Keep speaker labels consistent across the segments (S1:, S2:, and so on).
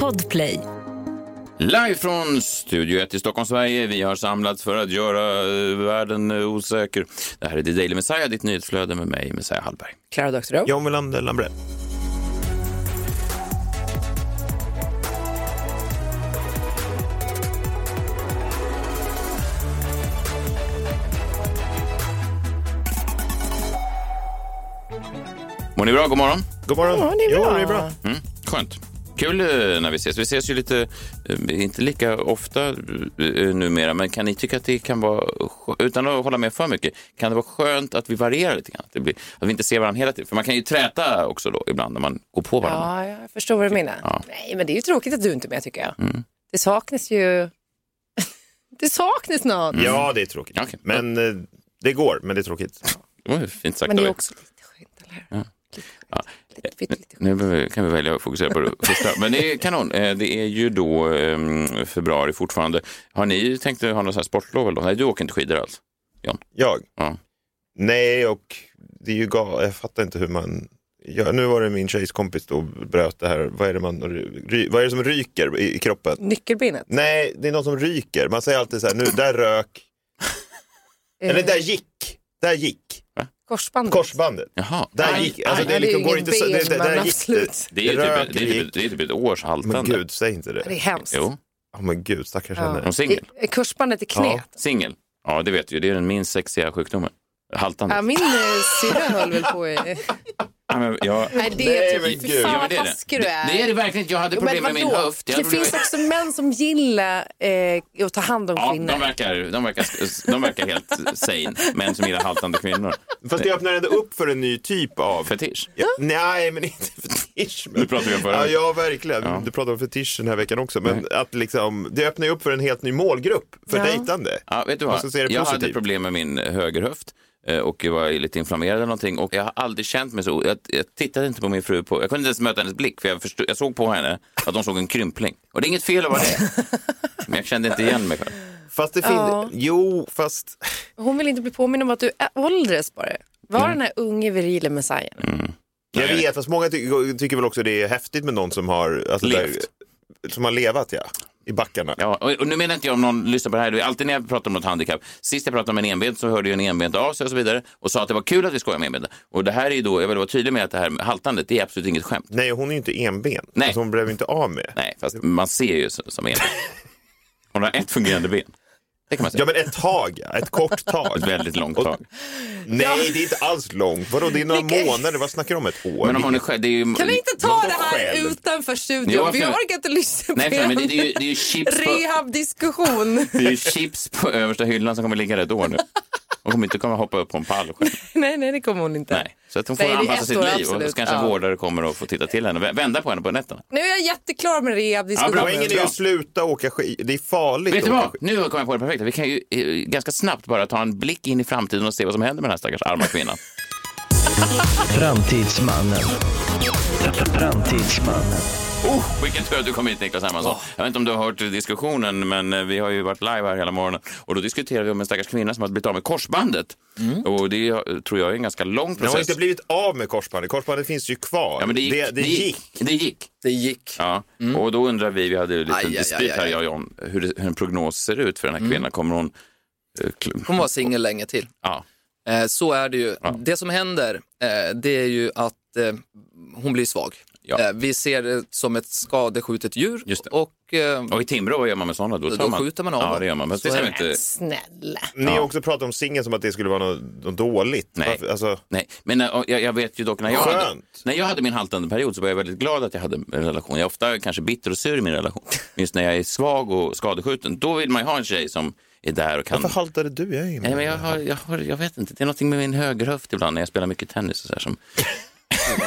S1: Podplay.
S2: Live från Studio 1 i Stockholm, Sverige. Vi har samlats för att göra eh, världen eh, osäker. Det här är The Daily Messiah, ditt nyhetsflöde med mig, Messiah Hallberg.
S3: Klara Doktorow.
S4: John Melander Lambrell.
S2: Mår ni bra? God morgon.
S4: God morgon.
S3: Ja, det är bra.
S4: Jo, det är bra.
S2: Mm, skönt. Kul eh, när vi ses. Vi ses ju lite, eh, inte lika ofta eh, numera, men kan ni tycka att det kan vara, skö- utan att hålla med för mycket, kan det vara skönt att vi varierar lite grann? Att, det blir, att vi inte ser varandra hela tiden? För man kan ju träta också då ibland när man går på varandra.
S3: Ja, jag förstår vad du menar.
S2: Ja. Mm.
S3: Nej, men det är ju tråkigt att du inte är med tycker jag. Det saknas ju... det saknas någon.
S4: Ja, det är tråkigt.
S2: Okej.
S4: Men eh, det går, men det är tråkigt.
S2: Det var fint sagt
S3: Men det
S2: av er.
S3: är också lite skönt, eller hur? Lite skönt. Lite, lite, lite skönt.
S2: Nu behöver- kan vi välja att fokusera på det första. Men det är kanon. Eh, Det är ju då ehm, februari fortfarande. Har ni tänkt att ha något så här sportlov? Eller? något? Nej, du åker inte skidor alls.
S4: Jag?
S2: Ja.
S4: Nej, och det är ju gal... Jag fattar inte hur man... Ja, nu var det min tjejs kompis då bröt det här. Vad är det, man... ry... Vad är det som ryker i i kroppen?
S3: Nyckelbenet.
S4: Nej, det är någon som ryker. Man säger alltid så här, nu, där rök. Eller
S3: Eh,
S4: där gick. Där gick.
S3: Korsbandet.
S4: Korsbandet.
S2: Jaha.
S4: Där
S3: Nej,
S4: gick. Alltså,
S3: nej,
S4: det är
S3: det är
S4: liksom,
S3: ju
S4: går
S3: inget
S4: inte så...
S3: ben,
S4: Det, det,
S3: men
S4: där gick det.
S3: absolut.
S2: Det är ju
S4: Rök,
S2: typ, det är typ,
S4: gick.
S2: det är typ ett års haltande.
S4: Men gud, säg inte
S3: Det är
S4: det.
S3: hemskt.
S2: Jo,
S4: Ja, men gud, stackars
S3: Ja.
S4: henne.
S2: de singel.
S3: Det- eh, Korsbandet i knät.
S2: Singel. Ja, det vet du ju. Det är den minst sexiga sjukdomen. Haltande.
S3: Ja, min eh, syrra höll väl på i...
S2: Ja, men jag...
S3: Nej, det är
S4: men
S3: typ... Fy
S4: gud.
S3: fan
S2: Ja, men
S3: vad
S2: det, är
S3: taskig
S2: det. Det,
S3: du är.
S2: det är det verkligen inte. Jag hade problem med min
S3: vadå?
S2: höft. Jag
S3: Det
S2: hade
S3: finns
S2: problem-
S3: också män som gillar eh, att ta hand om
S2: Ja,
S3: kvinnor.
S2: de verkar, de, verkar, de verkar helt sane, män som gillar haltande kvinnor.
S4: Fast det öppnar ändå upp för en ny typ av...
S2: Fetisch.
S4: Ja, nej, men inte fetisch. Men...
S2: Nu pratar vi om förra
S4: ja,
S2: veckan.
S4: ja, verkligen.
S2: Ja.
S4: Du pratade om fetisch den här veckan också. Men att liksom, det öppnar ju upp för en helt ny målgrupp för
S3: Ja.
S4: dejtande.
S2: Ja, vet du
S4: Man ska
S2: vad?
S4: se det
S2: Jag
S4: positivt.
S2: hade problem med min högerhöft eh, och jag var lite inflammerad eller någonting och jag har aldrig känt mig så. Jag, jag tittade inte på min fru, på, jag kunde inte ens möta hennes blick för jag, förstod, jag såg på henne att hon såg en krympling. Och det är inget fel att vara det, men jag kände inte igen mig själv.
S4: Fast det finns...
S3: Ja.
S4: Jo, fast...
S3: Hon vill inte bli påmind om att du är- åldras bara. Var
S2: Mm.
S3: den här unge virile messiahen.
S4: Jag
S2: Nej.
S4: vet, fast många ty- tycker väl också det är häftigt med någon som har... Alltså,
S2: Levt.
S4: Där, som har levat, ja. I backarna.
S2: Ja, och, och nu menar inte jag om någon lyssnar på det här, det är alltid när jag pratar om något handikapp. Sist jag pratade om en enbent så hörde ju en enbent av sig och så vidare och sa att det var kul att vi skojade med enbenta. Och det här är ju då, jag vill vara tydlig med att det här med haltandet, det är absolut inget skämt.
S4: Nej, hon är ju inte enben.
S2: Nej.
S4: Alltså, hon blev ju inte av med.
S2: Nej, fast man ser ju så- som enbent. Hon har ett fungerande ben. Det kan man säga.
S4: Ja, men ett tag, ja. Ett kort tag.
S2: Ett väldigt långt tag.
S4: Nej, det är inte alls långt. Vadå, det är några
S3: Vilket-
S4: månader. Vad snackar du om? Ett år?
S2: Men om hon är själv, det är ju...
S3: Kan vi inte ta
S4: Vadå
S3: det här
S4: själv?
S3: utanför
S2: Jo,
S3: studion? Vi
S2: absolut.
S3: orkar inte lyssna på
S2: Nej, för,
S3: er
S2: men det, det, är ju, det är ju chips på,
S3: rehabdiskussion.
S2: det är ju chips på översta hyllan som kommer ligga där ett år nu. Hon kommer inte komma hoppa upp på en pall själv.
S3: nej, nej, det kommer hon inte.
S2: Nej. Så att hon får
S3: Nej, det är
S2: anpassa
S3: ett
S2: sitt
S3: år,
S2: liv och
S3: absolut.
S2: så kanske en
S3: Ja.
S2: vårdare kommer och får titta till henne. och vä- Vända på henne på nätterna.
S3: Nu är jag jätteklar med rehabdiskussionen.
S2: Ja, bra.
S4: Poängen är ju att sluta åka skidor. Det är farligt
S2: Vet du
S4: att åka
S2: vad? Nu kom jag på det perfekta. Vi kan ju eh, ganska snabbt bara ta en blick in i framtiden och se vad som händer med den här stackars arma kvinnan.
S5: Framtidsmannen. Framtidsmannen.
S2: Oh, vilken tur att du kom hit Niklas Hermansson. Oh. Jag vet inte om du har hört diskussionen, men eh, vi har ju varit live här hela morgonen. Och då diskuterade vi om en stackars kvinna som har blivit av med korsbandet. Och det eh, tror jag är en ganska lång
S4: Den har
S2: process.
S4: inte blivit av med korsbandet. Korsbandet finns ju kvar.
S2: Ja, men det gick.
S4: Det, gick.
S2: Det gick.
S6: Det gick.
S2: Ja. Och då undrar vi, vi hade ju
S6: Aj,
S2: lite
S6: aj,
S2: dispyt
S6: aj,
S2: här
S6: aj.
S2: jag och John, hur, det- hur en prognos ser ut för den här kvinnan. Kommer hon... eh, kl-
S6: Hon var singel länge till.
S2: Ja.
S6: Eh, så är det ju. Det som händer, eh, det är ju att eh, hon blir svag.
S2: Ja.
S6: Eh, vi ser det som ett skadeskjutet djur
S2: Just det.
S6: och eh,
S2: Och i Timrå, vad gör man med sådana? Då, tar
S6: Då skjuter man av
S2: Ja,
S6: dem.
S2: det gör man. Men det
S6: Så
S2: ska
S6: är
S2: vi
S6: det.
S2: inte...
S3: Snälla.
S4: Ni har också pratat om singeln som att det skulle vara något, något dåligt.
S2: Nej.
S4: Varför- Alltså,
S2: Nej, men eh, jag, jag vet ju dock när jag, hade,
S4: Skönt.
S2: när jag hade min haltande period så var jag väldigt glad att jag hade en relation. Jag är ofta kanske bitter och sur i min relation. Men Just när jag är svag och skadeskjuten, då vill man ju ha en tjej som är där och kan...
S4: varför haltade du? Jag är ju med.
S2: Nej, men jag, har, jag, har, jag vet inte, det är någonting med min högerhöft ibland när jag spelar mycket tennis och så här som...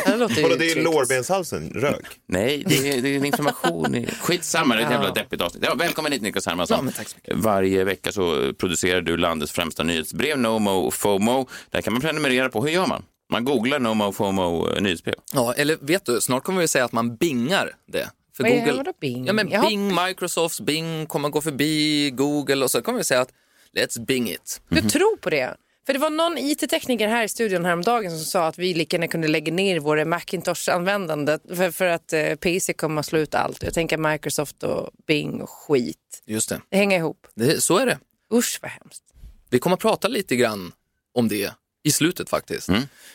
S3: Det låter ju
S4: Kolla, det är
S3: tryggt.
S4: lårbenshalsen. Rök.
S2: Nej, det är, det är en inflammation. i- Skitsamma, det är ett jävla deppigt avsnitt. Ja, välkommen hit Niklas Hermansson.
S6: Ja, men tack så
S2: Varje vecka så producerar du landets främsta nyhetsbrev, NOMO och FOMO. Det här kan man prenumerera på. Hur gör man? Man googlar NOMO och FOMO eh, nyhetsbrev.
S6: Ja, eller vet du, snart kommer vi säga att man bingar det. För
S3: Vad är- vadå Bing?
S6: Ja, men
S3: Jaha.
S6: Bing, Microsofts
S2: Mm.
S6: Bing kommer gå förbi Google och så kommer vi säga att let's bing it.
S3: Du tror på det? För det var någon IT-tekniker här i studion häromdagen som sa att vi lika gärna kunde lägga ner våra Macintosh-användande för, för att eh, PC kommer att slå ut allt. Jag tänker Microsoft och Bing och skit.
S6: Just det.
S3: Det hänger ihop.
S6: det, så är det.
S3: Usch vad hemskt.
S6: Vi kommer att prata lite grann om det i slutet faktiskt.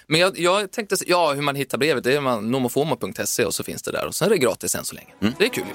S6: Men jag, jag tänkte, så- ja hur man hittar brevet, det är man nomofoma.se och så finns det där och sen är det gratis än så länge. Det är kul ju.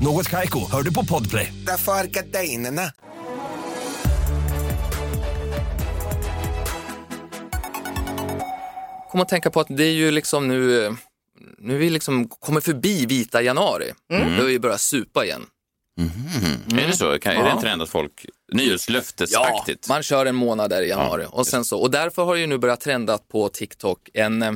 S5: Något Kaiko, hör du på Podplay.
S7: Därför är gardinerna.
S6: kom att tänka på att det är ju liksom nu, eh, nu är vi liksom kommer förbi vita januari. Då vi börjar supa igen. Mm.
S2: Är det så? Kan, Är det en trend att folk, nyårslöftesaktigt?
S6: man kör en månad där i januari. och, sen så, och därför har ju nu börjat trenda på TikTok en, eh,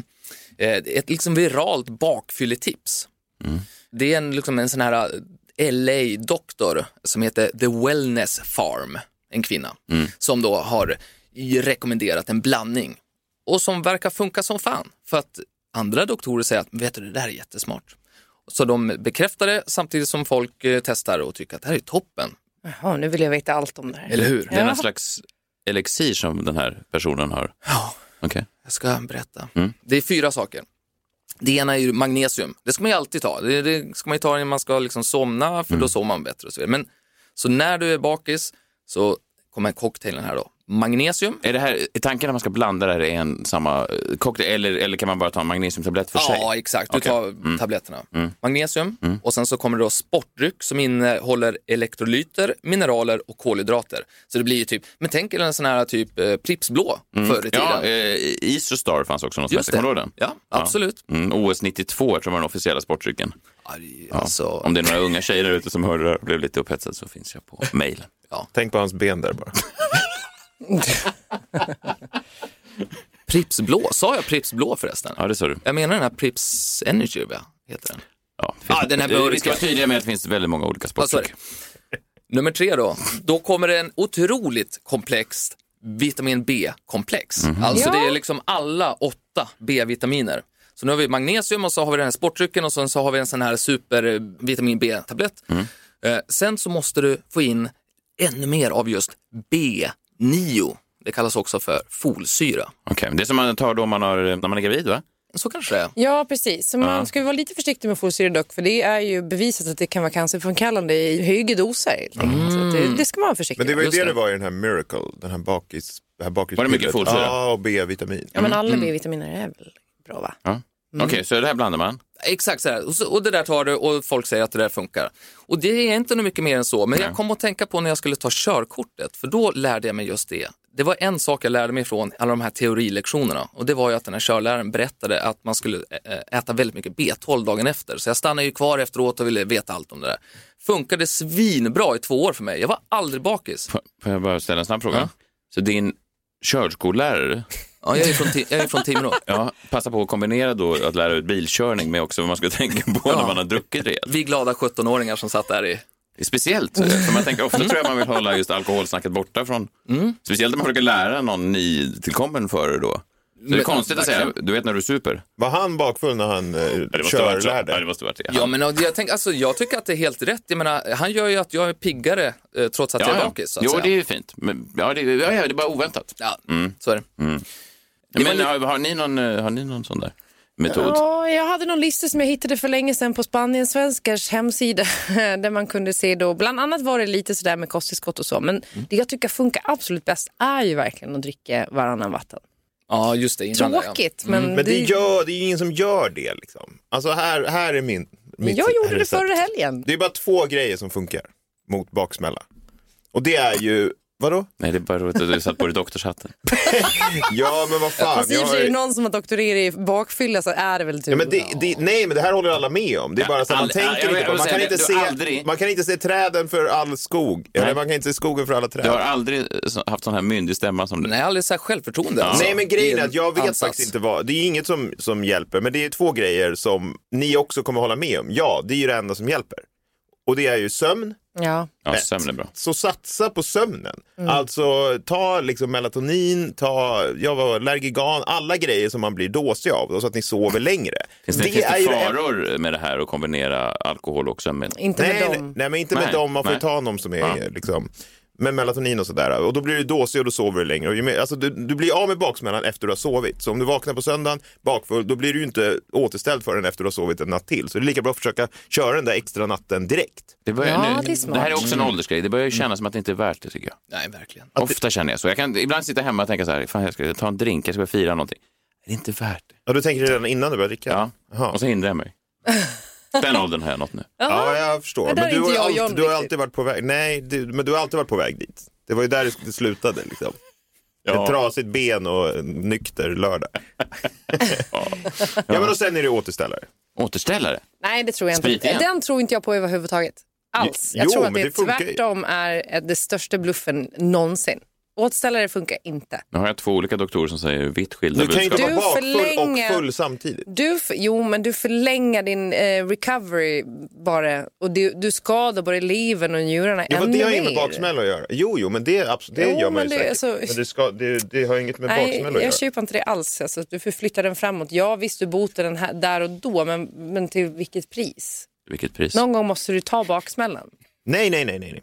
S6: ett liksom viralt bakfylletips.
S2: Mm.
S6: Det är en, liksom en sån här eh, LA-doktor som heter The Wellness Farm, en kvinna,
S2: Mm.
S6: som då har i- rekommenderat en blandning och som verkar funka som fan. För att andra doktorer säger att vet du, det där är jättesmart. Så de bekräftar det samtidigt som folk eh, testar och tycker att det här är toppen.
S3: Jaha, nu vill jag veta allt om det här.
S6: Eller hur?
S2: Det är någon slags elixir som den här personen har?
S6: Ja.
S2: Okej.
S6: Jag ska berätta. Mm. Det är fyra saker. Det ena är ju magnesium. Det ska man ju alltid ta. Det, det ska man ju ta när man ska liksom somna,
S2: Mm.
S6: för då sover man bättre. Och så, vidare. Men, så när du är bakis så kommer cocktailen här då. Magnesium.
S2: Är det här, är tanken att man ska blanda det här i en samma eh, cocktail eller, eller kan man bara ta en magnesiumtablett för sig?
S6: Ja, exakt. Du
S2: Okej. Mm.
S6: tar tabletterna. Magnesium och sen så kommer det då sportdryck som innehåller elektrolyter, mineraler och kolhydrater. Så det blir ju typ, men tänk er en sån här typ eh, Pripps blå förr i tiden.
S2: Ja, eh, Isostar fanns också någonstans.
S6: Just det.
S2: Kommer du ihåg den?
S6: Ja, absolut.
S2: Mm, OS 92 tror jag var den officiella sportdrycken.
S6: Aj, Alltså,
S2: Om det är några unga tjejer där ute som hörde det här och blev lite upphetsade så finns jag på mejlen.
S4: Tänk på hans ben där bara.
S6: Pripps blå, sa jag Pripps blå förresten?
S2: Ja, det sa du.
S6: Jag menar den här Pripps Energy, va? heter den.
S2: Ja,
S6: Ah, den här burken.
S2: Vi ska vara tydliga med att det finns väldigt många olika
S6: Ja, så är det.
S2: sportdrycker.
S6: Nummer tre då, då kommer det en otroligt komplext vitamin B-komplex. Alltså det är liksom alla åtta B-vitaminer. Så nu har vi magnesium och så har vi den här sportdrycken och sen så har vi en sån här super eh, vitamin B-tablett. Eh, sen så måste du få in ännu mer av just B9. Det kallas också för folsyra.
S2: Okej, Det är som man tar då man har, när man är gravid, va?
S6: Så kanske det är.
S3: Ja, precis. Så man ska ju vara lite försiktig med folsyra dock, för det är ju bevisat att det kan vara cancerframkallande i högre doser. helt enkelt. Så att det, det ska man vara försiktig
S4: Mm. Men det var ju
S6: Just
S4: det
S6: det.
S4: det var i den här Miracle, den här bakis... Det här bakis
S2: Var det mycket folsyra?
S4: Ja, och B-vitamin.
S3: Ja, men
S4: Mm.
S3: alla B-vitaminer är väl bra, va?
S2: Ja. Mm. Okej, så det här blandar man.
S6: Exakt så här. Och, så, och det där tar du och folk säger att det där funkar. Och det är inte något mycket mer än så. Men jag kom att tänka på när jag skulle ta körkortet, för då lärde jag mig just det. Det var en sak jag lärde mig från alla de här teorilektionerna och det var ju att den här körläraren berättade att man skulle ä- äta väldigt mycket B12 dagen efter. Så jag stannade ju kvar efteråt och ville veta allt om det där. Funkade svinbra i två år för mig. Jag var aldrig bakis.
S2: F- Får jag bara ställa en snabb fråga?
S6: Ja.
S2: Så din körskollärare
S6: Ja, jag är från, Ti- jag är från Timrå.
S2: ja, passar på att kombinera då att lära ut bilkörning med också vad man ska tänka på när man har druckit rejält.
S6: Vi glada 17-åringar som satt där i
S2: Det är Speciellt, eh, för man tänker ofta tror jag man vill hålla just alkoholsnacket borta från, speciellt om man försöker lära någon nytillkommen förare då. Så det är
S6: Men-
S2: konstigt att säga, du vet när du super.
S4: Var han bakfull när han eh,
S2: måste varit så.
S4: körlärde?
S2: Ja, det måste varit det.
S6: Ja, men jag, tänk, alltså, jag tycker att det är helt rätt. Jag menar, han gör ju att jag är piggare eh, trots att jag är bakis. Så att
S2: jo,
S6: säga.
S2: det är Mm. ju fint. Men, ja, det, ja, ja, det är bara oväntat.
S6: Ja, så är det.
S2: Men
S6: var lite-
S2: har, har, ni någon, eh, har ni någon sån där metod?
S3: Ja, jag hade någon lista som jag hittade för länge sedan på Spanien svenskars hemsida där man kunde se då, bland annat var det lite sådär med kosttillskott och så, men
S4: Mm.
S3: det jag tycker funkar absolut bäst är ju verkligen att dricka varannan vatten.
S6: Ja, just det. innan det,
S3: Tråkigt, men,
S4: Mm. Men det, gör, det är ju ingen som gör det liksom. Alltså här, här är min... mitt
S3: jag gjorde det
S4: recept.
S3: förra helgen.
S4: Det är bara två grejer som funkar mot baksmälla. Och det är ju Vadå?
S2: Nej, det är bara roligt att du satt på dig doktorshatten.
S4: Ja, men vad fan.
S3: Fast i och
S4: jag
S3: för
S4: har-
S3: sig är det någon som har doktorerat i bakfylla så är det väl typ- du.
S4: Ja, men det, det, nej, men det här håller alla med om. Det är bara så att man
S2: all- ja, jag
S4: tänker
S2: vill-
S4: inte
S2: jag
S4: på
S2: vill
S4: man
S2: säga
S4: kan
S2: det.
S4: inte
S2: Du
S4: se-
S2: aldrig-
S4: Man kan inte se träden för all skog. Eller man kan inte se skogen för alla träd.
S2: Du har aldrig så- haft sån här myndig stämma som du.
S6: Nej, aldrig så här självförtroende. alltså.
S4: Nej men grejen
S6: I
S4: är
S6: en
S4: att jag vet
S6: ansats.
S4: faktiskt inte vad, det är inget som, som hjälper, men det är två grejer som ni också kommer hålla med om. Ja, det är ju det enda som hjälper. Och det är ju sömn,
S3: Ja.
S2: Ja, sömn är bra.
S4: så satsa på sömnen.
S3: Mm.
S4: Alltså ta liksom melatonin, ta jag var allergigan, alla grejer som man blir dåsig av, då, så att ni sover längre.
S2: Finns det, finns det
S4: ju en-
S2: faror med det här att kombinera alkohol och sömn?
S3: Inte
S4: Nej,
S3: med
S4: nej,
S3: dem.
S4: nej, men inte
S2: Nej,
S4: med dem. Man får ju
S2: nej.
S4: ta någon som är
S2: Ja.
S4: liksom, med melatonin och sådär. Och då blir du dåsig och då sover du längre. Och ju mer- Alltså, du, du blir av med baksmällan efter du har sovit. Så om du vaknar på söndagen bakfull, då blir du ju inte återställd förrän efter du har sovit en natt till. Så det är lika bra att försöka köra den där extra natten direkt.
S2: Det, börjar
S3: Ja,
S2: nu,
S3: det är smart.
S2: här är också en åldersgrej. Det börjar ju kännas som att det inte är värt det tycker jag.
S6: Nej, verkligen.
S2: Ofta känner jag så. Jag kan ibland sitta hemma och tänka så här, fan jag ska ta en drink, jag ska fira någonting. Det är inte värt det.
S4: Ja, du tänker redan innan du börjar dricka?
S2: Ja.
S4: Jaha.
S2: Och så hindrar jag mig. Den åldern har jag nått nu.
S4: ja jag förstår.
S3: Men där är
S4: du,
S3: inte
S4: har
S3: jag och
S4: alltid,
S3: John
S4: du har
S3: riktigt.
S4: alltid varit på väg. Nej, du, men du har alltid varit på väg dit. Det var ju där det slutade liksom. Ett trasigt ben och en nykter lördag. ja. men och sen är det återställare.
S2: Återställare.
S3: Nej, det tror jag
S2: Sprit
S3: inte.
S2: igen.
S3: Den tror inte jag på överhuvudtaget. Alls.
S4: Jo,
S3: Jag tror att
S4: men
S3: det,
S4: det funkar ju.
S3: tvärtom är eh, det största bluffen någonsin. Återställare funkar inte.
S2: Nu har jag två olika doktorer som säger vitt skilda
S4: Du kan ju
S2: budskap.
S4: inte vara
S3: Du
S4: bakfull
S3: förlänger-
S4: och full samtidigt.
S3: Du, f- jo, men du förlänger din eh, recovery bara och du, du skadar både levern och njurarna
S4: Jo, men
S3: ännu
S4: det har inget med
S3: mer.
S4: baksmälla att göra. Jo, jo, men det, är absolut, det
S3: Jo,
S4: gör man
S3: men
S4: ju
S3: det-
S4: säkert.
S3: alltså-
S4: Men det, ska, det, det har inget med
S3: Nej,
S4: baksmälla att göra.
S3: jag köper inte det alls. Alltså, du förflyttar den framåt. Ja, visst, du botar den här, där och då, men, men till vilket pris?
S2: Vilket pris.
S3: Någon gång måste du ta baksmällan.
S4: Nej, nej, nej, nej. nej.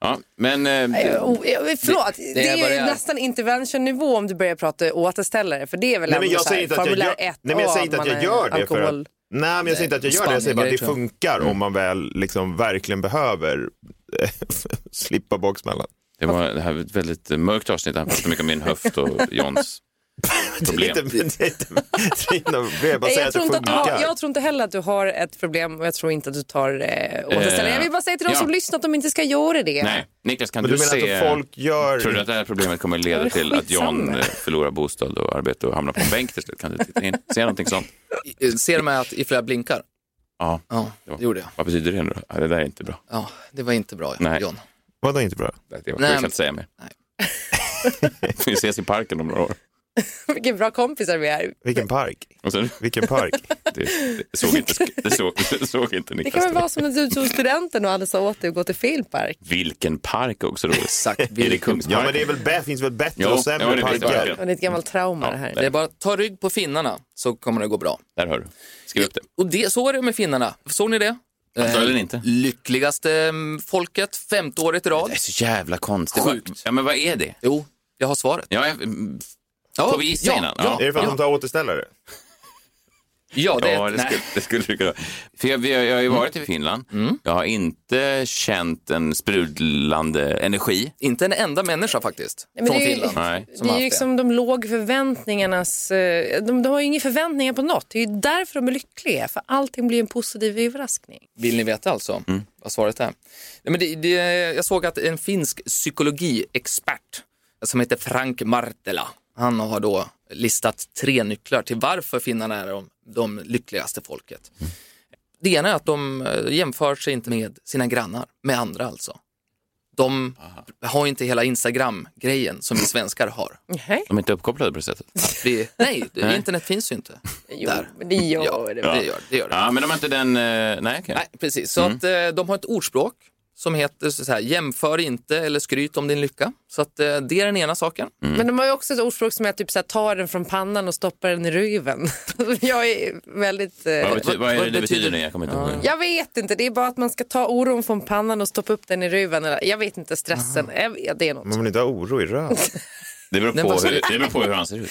S2: Ja, men eh,
S3: Eh, oh, eh, Förlåt, det,
S6: är
S3: är
S6: vad
S3: ju
S6: det är.
S3: nästan intervention-nivå om du börjar prata återställare. För det är väl
S4: Nej, men
S3: ändå
S4: jag
S3: så här,
S4: säger inte att jag
S3: formulär
S4: gör,
S3: 1
S4: nej, men jag säger inte att jag gör det. För att,
S3: alkohol.
S4: nej, men jag säger inte att jag gör det. Jag säger bara att det
S6: Spanien-grej,
S4: funkar
S3: Mm.
S4: om man väl liksom verkligen behöver eh, slippa baksmällan.
S2: det var det här var ett väldigt mörkt avsnitt. Han pratade mycket om min höft och Johns
S4: Det är
S2: problem.
S4: inte- det är inte- det är inte- det är bara att
S3: Nej,
S4: säga
S3: Jag
S4: att det
S3: tror, inte att du har,
S4: funkar.
S3: jag tror inte heller att du har ett problem och jag tror inte att du tar eh, återställare.
S2: Eh,
S3: jag vill bara säga till de
S2: ja.
S3: som lyssnar att de inte ska göra det.
S2: Nej, Niklas kan
S4: Men
S2: du,
S4: du menar
S2: se...
S4: att folk gör...
S2: Tror du att det här problemet kommer leda till att John eh, förlorar bostad och arbete och hamnar på en bänk till slut? Kan du titta in? Se någonting sånt?
S6: I- eh, Ser de att ifall jag blinkar?
S2: Ja.
S6: Ja, det gjorde jag.
S2: Vad betyder det nu då? Ja, det där är inte bra.
S6: Ja, det var inte bra,
S2: Nej.
S6: John.
S4: Vadå inte bra?
S2: Det jag
S6: Nej,
S2: jag kan
S6: men-
S2: inte säga mer.
S6: nej.
S2: Vi ses i parken om några år.
S3: Vilka bra kompisar vi är.
S4: Vilken park?
S2: Och sen,
S4: Vilken park?
S2: det, det, såg inte, det, såg, det såg inte
S3: Det
S2: Niklas.
S3: kan väl vara som när du tog studenten och alla sa åt dig att gå till filmpark.
S2: Vilken park också roligt.
S6: Exakt.
S2: Är det
S6: vilken-
S4: Ja,
S2: Kungsparken?
S4: men det är väl, bä- finns väl bättre
S2: Jo,
S4: och
S2: ja,
S4: sämre
S2: det finns det
S4: parker?
S2: verkligen.
S3: Det är ett gammalt trauma det här.
S6: Det är bara att ta rygg på finnarna så kommer det gå bra.
S2: Där hör du. Skriv upp det.
S6: Och det, så är det med finnarna. Såg ni det? Eh,
S2: Antagligen inte.
S6: Lyckligaste mm, folket, femte året i rad.
S2: Det är så jävla konstigt.
S6: Sjukt.
S2: Ja, men vad är det?
S6: Jo, jag har svaret.
S2: Ja, jag, mm,
S6: Ja,
S2: Får vi gissa
S6: ja,
S2: innan?
S6: Ja,
S4: Är det för att
S6: ja,
S4: de tar återställare?
S6: ja, det,
S2: ja, det
S6: nej. Mm.
S2: skulle, det skulle du kunna. För jag, jag, jag har ju varit i Finland. Jag har inte känt en sprudlande energi.
S6: Inte en enda människa faktiskt
S3: men
S6: från
S3: det är ju-
S6: Finland.
S2: Nej.
S6: som
S3: det
S6: har
S3: är ju
S6: haft
S3: liksom de låg förväntningarnas... eh, De, de har ju inga förväntningar på något. Det är ju därför de är lyckliga. För allting blir en positiv överraskning.
S6: Vill ni veta alltså vad svaret är? Nej, men det, det, jag såg att en finsk psykologiexpert som heter Frank Martela, han har då listat tre nycklar till varför finnarna är de, de lyckligaste folket. Det ena är att de eh, jämför sig inte med sina grannar, med andra alltså. De har ju inte hela Instagram-grejen som vi svenskar har.
S3: Nej,
S2: De är inte uppkopplade på det sättet.
S6: Vi, nej, internet finns ju inte.
S3: jo, men det gör det.
S6: det gör det. Gör det.
S2: Ja, men de har inte den... eh, Nej, okej.
S6: Nej, precis. Så att eh, de har ett ordspråk som heter så här, jämför inte eller skryt om din lycka. Så att eh, det är den ena saken.
S2: Mm.
S3: Men de har ju också ett ordspråk som är typ så här, ta den från pannan och stoppa den i röven. Jag är väldigt... eh,
S2: Vad, bety- vad är det
S6: vad
S2: det betyder
S6: betyder-
S2: nu? Jag kommer inte ihåg.
S3: Jag vet inte, det är bara att man ska ta oron från pannan och stoppa upp den i röven. eller- Jag vet inte, stressen. Jag vet, det är något.
S2: Mm.
S4: Man vill inte ha oro i röven.
S2: Det beror,
S6: Nej,
S2: på
S6: vad sa
S2: hur, det beror på hur han ser ut.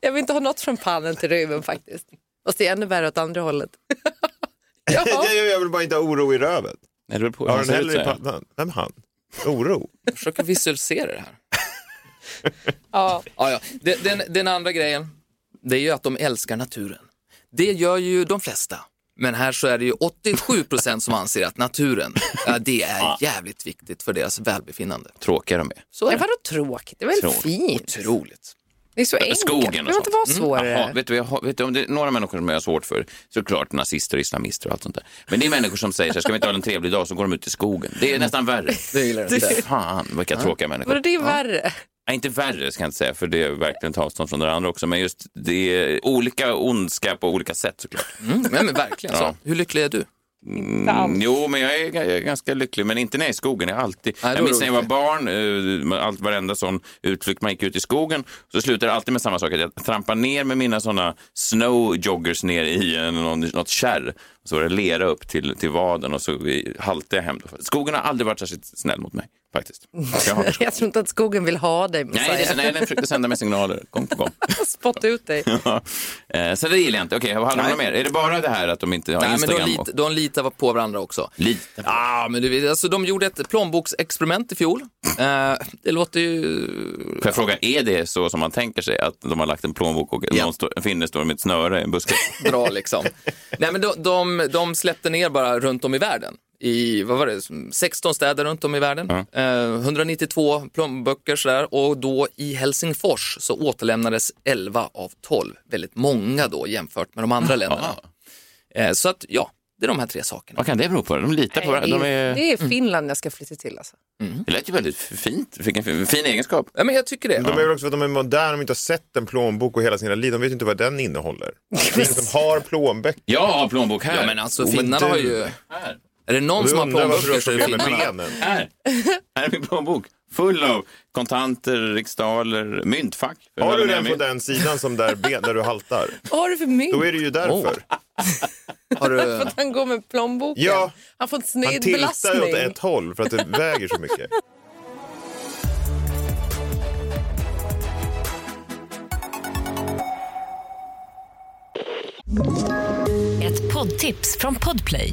S3: Jag vill inte ha något från pannan till röven faktiskt. Fast det är ännu värre åt andra hållet. ja.
S4: Nej, Jag vill bara inte ha oro i röven.
S2: Nej, det beror på hur
S4: Har
S2: han
S4: den
S2: ser ut.
S4: hellre i
S2: säger jag.
S4: pannan? Vem han? Oro?
S6: Jag försöker visualisera det här.
S3: Ja.
S6: Ja, ja. Den, den, den andra grejen, det är ju att de älskar naturen. Det gör ju de flesta. Men här så är det ju 87 procent som anser att naturen, ja, det är jävligt viktigt för deras välbefinnande.
S2: Tråkiga de är.
S3: Det var då tråkigt? Det var väl
S2: Tråkigt.
S3: fint?
S6: Otroligt.
S3: Det är så enkelt.
S2: Skogen och Mm.
S3: det behöver inte vara svårare.
S2: Jaha, vet du, vad jag, har- vet du, om det är några människor som jag har svårt för, såklart nazister, islamister och allt sånt där. Men det är människor som säger så här, ska vi inte ha en trevlig dag, så går de ut i skogen. Det är nästan värre.
S6: Det gillar jag inte.
S2: Fan, vilka tråkiga människor.
S3: Vadå, det är värre.
S2: Nej, inte värre ska jag inte säga, för det är verkligen ett avstånd från det andra också. Men just det är olika ondska på olika sätt såklart.
S6: Mm, ja, men verkligen.
S2: Ja.
S6: Så. Hur lycklig är du?
S2: Mm, jo, men jag är, jag är ganska lycklig, men inte när jag är i skogen. Jag, är alltid,
S6: Nej, det
S2: jag
S6: var
S2: minns när jag var
S6: roligt.
S2: barn, eh, med allt, varenda sån utflykt man gick ut i skogen, så slutade det alltid med samma sak. Att jag trampade ner med mina såna snow joggers ner i en, någon, något kärr. Och så var det lera upp till, till vaden och så vi- haltade jag hem. Då. Skogen har aldrig varit särskilt snäll mot mig, faktiskt. Jag har,
S3: Jag tror inte att skogen vill ha dig,
S2: nej, det,
S3: Messiah.
S2: nej, den försökte sända mig signaler gång på gång.
S3: Spotta ut dig.
S2: Eh, så det gillar jag inte. Okej, vad handlar det om mer? Är det bara det här att de inte har
S6: Nej, men
S2: Instagram?
S6: de, lit,
S2: och-
S6: de litar på varandra också.
S2: Lite.
S6: Ja, men du vet, alltså, de gjorde ett plånboksexperiment i fjol. Eh, det låter ju
S2: Får jag fråga, är det så som man tänker sig att de har lagt en plånbok och
S6: Ja.
S2: någon står, en finne står med ett snöre i en buske?
S6: dra liksom. Nej, men de, de, de släppte ner bara runt om i världen. I vad var det, 16 städer runt om i världen. Eh, 192 plånböcker sådär. Och då i Helsingfors så återlämnades 11 av 12. Väldigt många då jämfört med de andra länderna. Eh, så att ja, det är de här tre sakerna.
S2: Vad kan det bero på? De litar på varandra. De är,
S3: Det är Finland jag ska flytta till. Alltså.
S2: det lät ju väldigt fint. Fick en fin, fin egenskap.
S6: Ja, men jag tycker det.
S4: De är väl också för att de är moderna, de inte har sett en plånbok och hela sina liv. De vet ju inte vad den innehåller. Det är ingen som har plånböcker.
S2: Jag har plånbok här.
S6: Ja, men alltså
S4: Jo, men
S6: finnarna
S4: du-
S6: har ju...
S2: här.
S6: Är det någon
S4: Du
S6: som har
S4: undrar varför du har
S6: plånböcker så är det
S4: problem med
S6: finnarna.
S4: benen.
S2: här. Här är min plånbok. Full av kontanter, riksdaler, myntfack.
S4: Har du
S2: Mina
S4: den på
S2: mynt.
S4: den sidan som där, ben, där du haltar?
S3: Vad har du för mynt?
S4: Då är det ju därför.
S6: Har du...
S3: Han går med plånboken.
S4: Ja.
S3: Han får en
S4: Han
S3: sned
S4: tiltar ju åt
S3: belastning.
S4: ett håll för att det väger så mycket.
S1: Ett poddtips från Podplay.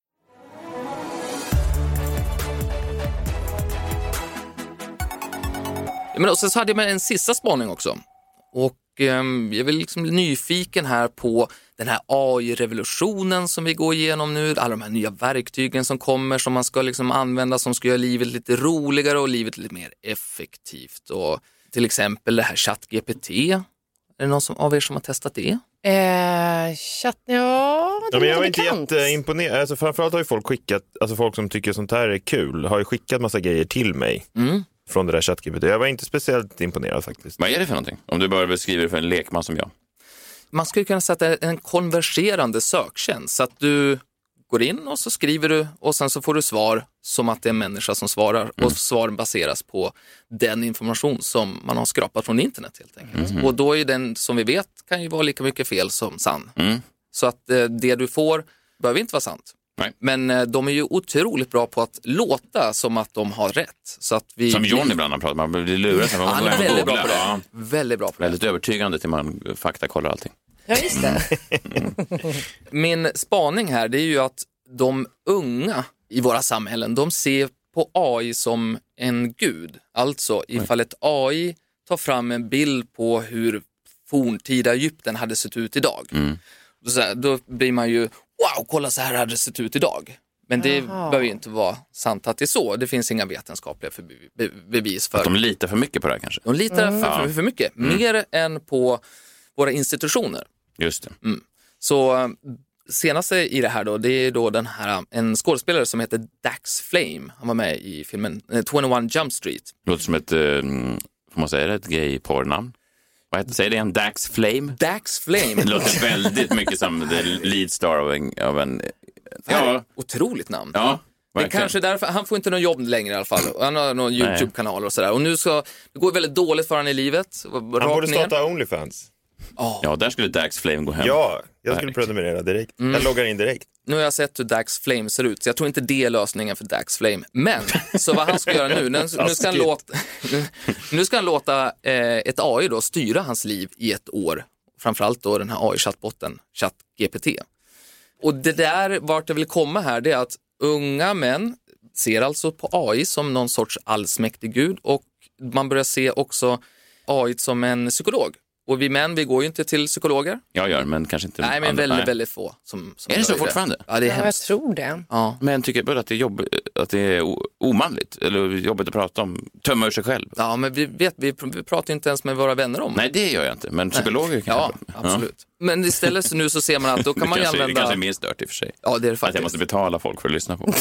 S6: Ja, men och sen så hade jag med en sista spaning också. Och ehm, jag är väl liksom nyfiken här på den här AI-revolutionen som vi går igenom nu, alla de här nya verktygen som kommer som man ska liksom använda som ska göra livet lite roligare och livet lite mer effektivt. Och till exempel det här ChatGPT. Är det någon som, av er som har testat det?
S3: Eh, chatt, ja, det
S4: Ja, men
S3: är
S4: jag var inte
S3: bekant.
S4: jätteimponerad. Alltså, framförallt har ju folk skickat, alltså folk som tycker sånt här är kul, har ju skickat massa grejer till mig
S6: Mm.
S4: från det där chattgrippet. Jag var inte speciellt imponerad faktiskt.
S2: Vad är det för någonting? Om du bara beskriver det för en lekman som jag.
S6: Man skulle kunna säga att det är en konverserande söktjänst så att du går in och så skriver du och sen så får du svar som att det är en människa som svarar
S2: Mm.
S6: och svaren baseras på den information som man har skrapat från internet helt enkelt.
S2: Mhm.
S6: Och då är ju den som vi vet kan ju vara lika mycket fel som sann.
S2: Mm.
S6: Så att eh, det du får behöver inte vara sant.
S2: Nej.
S6: Men eh, de är ju otroligt bra på att låta som att de har rätt. Så att vi,
S2: Som John ibland har pratat om. Man blir lurad. så här, Man
S6: Han är
S2: måste
S6: väldigt bra
S2: googla.
S6: på
S2: Ja,
S6: det. Väldigt bra på det.
S2: Väldigt övertygande till man faktakollar allting.
S3: Ja, just det.
S6: Min spaning här det är ju att de unga i våra samhällen, de ser på AI som en gud. Alltså ifall ett AI tar fram en bild på hur forntida Egypten hade sett ut idag.
S2: Mm.
S6: Då, så här, då blir man ju, wow, kolla så här hade det sett ut idag. Men det behöver ju inte vara sant att det är så. Det finns inga vetenskapliga förbi- be- bevis för
S2: Att de Mm. litar för mycket på det här kanske.
S6: De litar för, för, för mycket, mer än på våra institutioner.
S2: Just det.
S6: Så eh, senaste i det här då, det är då den här, eh, en skådespelare som heter Dax Flame. Han var med i filmen eh, 21 Jump Street.
S2: Låter som ett, eh, får man säga det, ett gayporrnamn? Vad heter Säg det igen, Dax Flame?
S6: Dax
S2: Det
S6: Flame,
S2: låter väldigt mycket som the lead star av en... Av en ja,
S6: otroligt namn.
S2: ja,
S6: Det är
S2: verkligen.
S6: kanske därför, han får inte någon jobb längre i alla fall. Han har någon YouTube-kanal och sådär. Och nu så, det går väldigt dåligt för han i livet.
S4: Han
S6: Rakt
S4: borde
S6: ner.
S4: starta Onlyfans.
S2: Ja, där skulle Dax Flame gå hem.
S4: Ja, jag skulle prenumerera direkt.
S6: Mm.
S4: Jag loggar in direkt.
S6: Nu har jag sett hur Dax Flame ser ut, så jag tror inte det är lösningen för Dax Flame. Men, så vad han ska göra nu, nu, nu, ska, han låta, nu ska han låta eh, ett AI då styra hans liv i ett år. Framförallt då den här AI-chattbotten, ChatGPT. Och det där, vart jag vill komma här, det är att unga män ser alltså på AI som någon sorts allsmäktig gud och man börjar se också AI som en psykolog. Och vi män, vi går ju inte till psykologer.
S2: Jag gör, men kanske inte
S6: Nej, men
S2: andra.
S6: väldigt, väldigt få. Som, som
S2: Är det så
S6: gör
S2: fortfarande?
S6: Ja, det är
S3: Ja, jag
S6: hemskt.
S3: tror det.
S6: Ja.
S2: Men tycker både att det är, jobb, att det är o- omanligt eller jobbigt att prata om, tömma ur sig själv.
S6: Ja, men vi, vet, vi pr- vi pratar ju inte ens med våra vänner om.
S2: Nej, det gör jag inte, men psykologer kan
S6: Ja,
S2: jag prata om.
S6: absolut. Men istället så nu så ser man att då
S2: Det
S6: kan man ju
S2: kanske, Det kanske
S6: använda...
S2: är mer stört i och för sig.
S6: Ja, det är det
S2: Att jag måste
S6: faktiskt.
S2: betala folk för att lyssna på.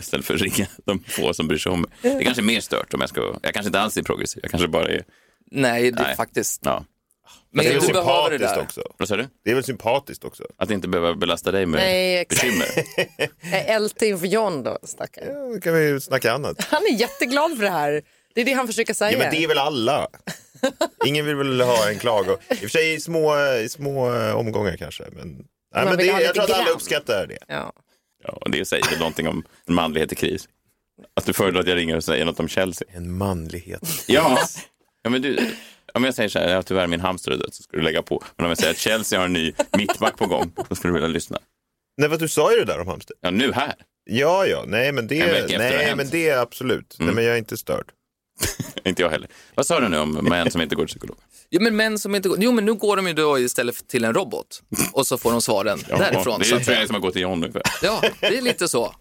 S2: Istället för att ringa de få som bryr sig om mig. Det kanske är mer stört om jag ska vara- Jag kanske inte alls är progressiv. Jag kanske bara är...
S6: Nej, det är
S2: Nej.
S6: faktiskt.
S2: Ja.
S6: Men
S4: Det är väl
S6: du behöver det
S4: sympatiskt
S6: där.
S4: också.
S2: Vad sa du?
S4: Det är väl sympatiskt också.
S2: Att inte behöva belasta dig med
S3: Nej, exakt.
S2: bekymmer.
S3: Jag älter inför John då, stackaren.
S4: Ja, Då kan vi ju snacka annat.
S3: Han är jätteglad för det här. Det är det han försöker säga.
S4: Ja, men det är väl alla. Ingen vill väl ha en klago. I och för sig i små, i små eh, omgångar kanske. Men, nej, men
S3: vill
S4: det,
S3: ha lite
S4: jag tror att alla
S3: grann.
S4: uppskattar det.
S3: Ja.
S2: Ja, och det säger väl någonting om en manlighet i kris. Att du föredrar att jag ringer och säger något om Chelsea.
S4: En manlighet.
S2: Ja. ja men du, om jag säger så här, ja, tyvärr min hamster är död, så ska du lägga på. Men om jag säger att Chelsea har en ny mittback på gång, då skulle du vilja lyssna.
S4: Nej, vad du sa ju det där om hamster.
S2: Ja, nu här.
S4: Ja, ja, nej, men
S2: En vecka
S4: det,
S2: efter det har
S4: nej,
S2: hänt.
S4: men det är absolut. Nej, men jag är inte störd.
S2: Inte jag heller. Vad sa du nu om män som inte går till psykolog?
S6: Ja, men män som inte går... Jo, men nu går de ju då istället för till en robot och så får de svaren därifrån.
S2: Det
S6: så
S2: är tror
S6: att säga.
S2: jag som har gått till John ungefär.
S6: Ja, det är lite så.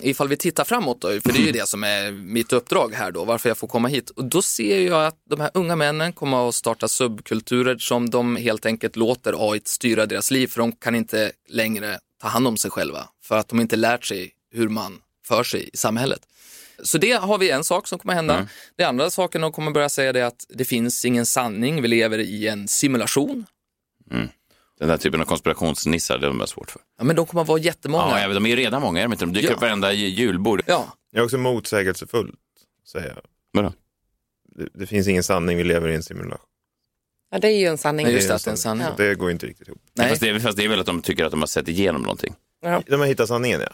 S6: Ifall vi tittar framåt då, för det är ju det som är mitt uppdrag här då, varför jag får komma hit. Och då ser jag att de här unga männen kommer att starta subkulturer som de helt enkelt låter AI styra deras liv, för de kan inte längre ta hand om sig själva, för att de inte lärt sig hur man för sig i samhället. Så det har vi en sak som kommer hända.
S2: Mm.
S6: Det andra saken de kommer börja säga det är att det finns ingen sanning, vi lever i en simulation.
S2: Den där typen av konspirationsnissar, det är de har svårt för.
S6: Ja, men de kommer att vara jättemånga.
S2: Ja, jag vet, de är ju redan många, är de inte? De dyker
S6: Ja.
S2: upp varenda ju- julbord.
S6: ja.
S4: Jag är också motsägelsefull, säger jag.
S2: Vadå?
S4: Det, det finns ingen sanning, vi lever i en simulation.
S3: Ja, det är ju en sanning.
S6: Nej, just
S4: är
S6: det, att det är en sanning.
S4: Så Det går inte riktigt ihop.
S6: Nej.
S2: Fast det, är- fast det är väl att de tycker att de har sett igenom någonting.
S4: De har hittat sanningen, ja.